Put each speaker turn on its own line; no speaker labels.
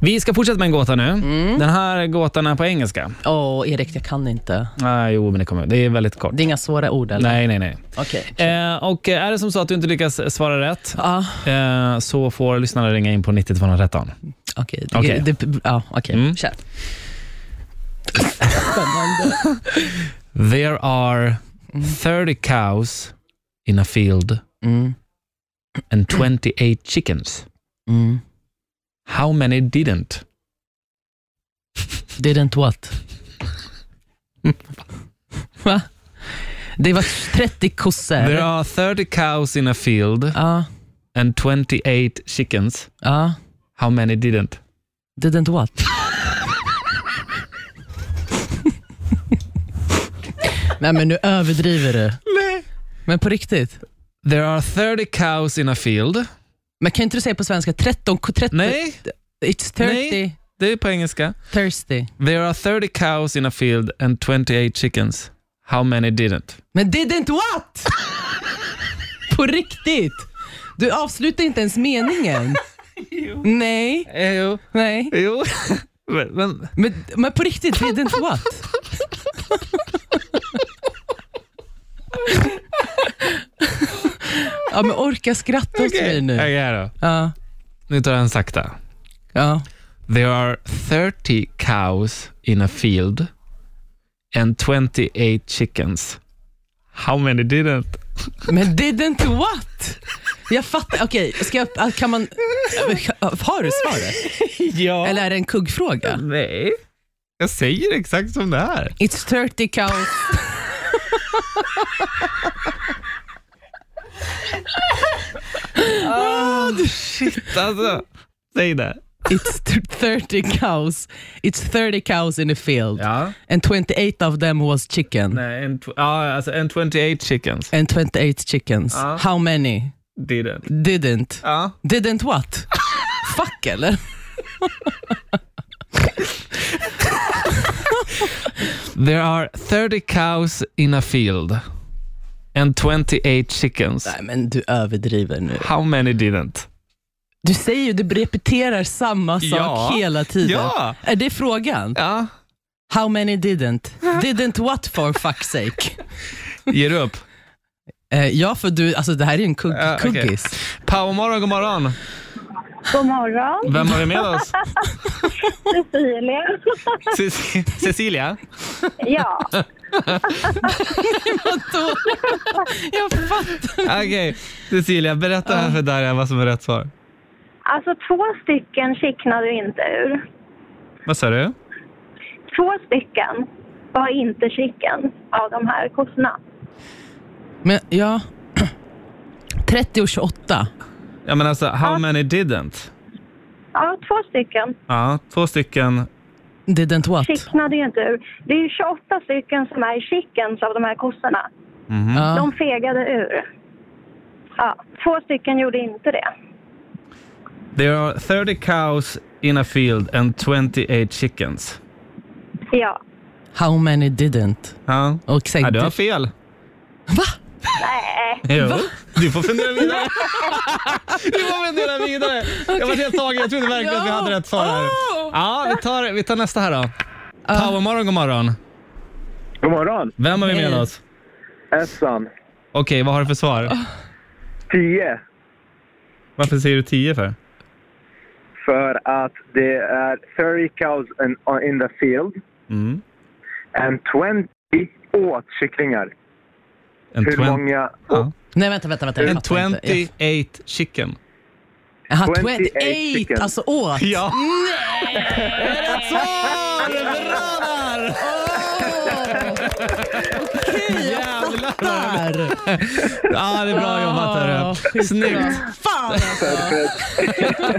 Vi ska fortsätta med en gåta nu.
Mm.
Den här gåtan är på engelska.
Åh, Erik, jag kan inte.
Ah, jo, men det kommer. Det är väldigt kort.
Det är inga svåra ord, eller?
Nej, nej, nej.
Okej. Ah.
Eh, och är det som så att du inte lyckas svara rätt
Ja,
eh, så får lyssnarna ringa in på 90 213.
okej.
Okej.
Det- det- Ja, okej.
Mm.
Kör.
There are 30 cows in a field
Mm,
and 28 chickens.
mm.
How many didn't?
Didn't what? Va? Det var 30
There
kossor.
are 30 cows in a field
Ja,
and 28 chickens.
ja.
How many didn't?
Didn't what? Nej men nu överdriver du.
Nej.
Men på riktigt.
There are 30 cows in a field.
Men kan inte du säga på svenska 13? 30,
Nej,
It's 30.
Nej. det är på engelska.
Thirsty.
There are 30 cows in a field and 28 chickens. How many didn't?
Men didn't what? på riktigt. Du avslutar inte ens meningen. Nej,
Jo.
nej.
Jo. Men, men,
Men, men på riktigt, didn't what? ja, men orka skratta åt mig nu.
Okej då.
Ja,
Nu tar jag en sakta.
ja.
There are 30 cows in a field and 28 chickens. How many didn't?
Men didn't what? Jag fattar. Okej, ska jag- kan man... Har du svaret?
Ja.
Eller är det en kuggfråga?
Nej. Jag säger exakt som det är.
It's 30 cows.
Shit alltså. Säg det.
It's 30 cows. It's 30 cows in a field.
Ja.
And 28 of them was chicken.
Nej, en tw- ja, alltså en 28 chickens.
And 28 chickens.
Ja.
How many?
Didn't.
Didn't.
Ja.
Didn't what? Fuck eller?
There are 30 cows in a field and 28 chickens.
Nej men du överdriver nu.
How many didn't?
Du säger ju, du repeterar samma sak
Ja.
hela tiden.
Ja.
Är det frågan?
Ja.
How many didn't? Didn't what for fuck's sake?
Ger du upp?
Eh, ja för du, alltså det här är ju en kugg,
Ja, okej.
kuggis.
Powermorgon, god morgon.
God morgon,
Vem har vi med oss?
Cecilia.
Ceci- Cecilia?
Ja,
Vadå? Jag fattar.
Ah, Okej, Cecilia, berätta här för Darja vad som är rätt svar.
alltså två stycken kicknar du inte ur.
Vad sa du?
Två stycken var inte chicken av de här kossorna.
Men ja. 30 och 28.
Ja men alltså, how many didn't?
Ja, två stycken
Ja, två stycken.
Didn't what?
kicknade ju inte ur. Det är ju 28 stycken som är chickens av de här kossorna.
Ja.
De fegade ur. Ja, två stycken gjorde inte det.
There are 30 cows in a field and 28 chickens.
Ja,
How many didn't?
Ja.
Och säg
Ja, du har
ja,
fel.
nej.
Jo. Du får fundera vidare. du får fundera vidare. Jag var helt tagen. Jag trodde verkligen att vi hade rätt svar här.
Oh.
Ja, vi tar, vi tar nästa här då. Powermorgon, god morgon.
God morgon!
Vem har vi med
Hej.
oss?
Essan.
Okej, vad har du för
Oh.
svar?
10.
Varför säger du 10 för?
För att det är 30 cows in, uh, in the field
Mm.
and 20 åt kycklingar.
En
Hur
20
många?
Ja.
Nej vänta, vänta, vänta. jag
En
fattar inte.
28 chicken.
Jaha,
28
28,
chicken.
alltså åt.
Ja! Rätt svar! Bra där! Jävlar!
Där.
Ja, det är bra jobbat. Hörru.
skitbra.
Snyggt!
Fan alltså.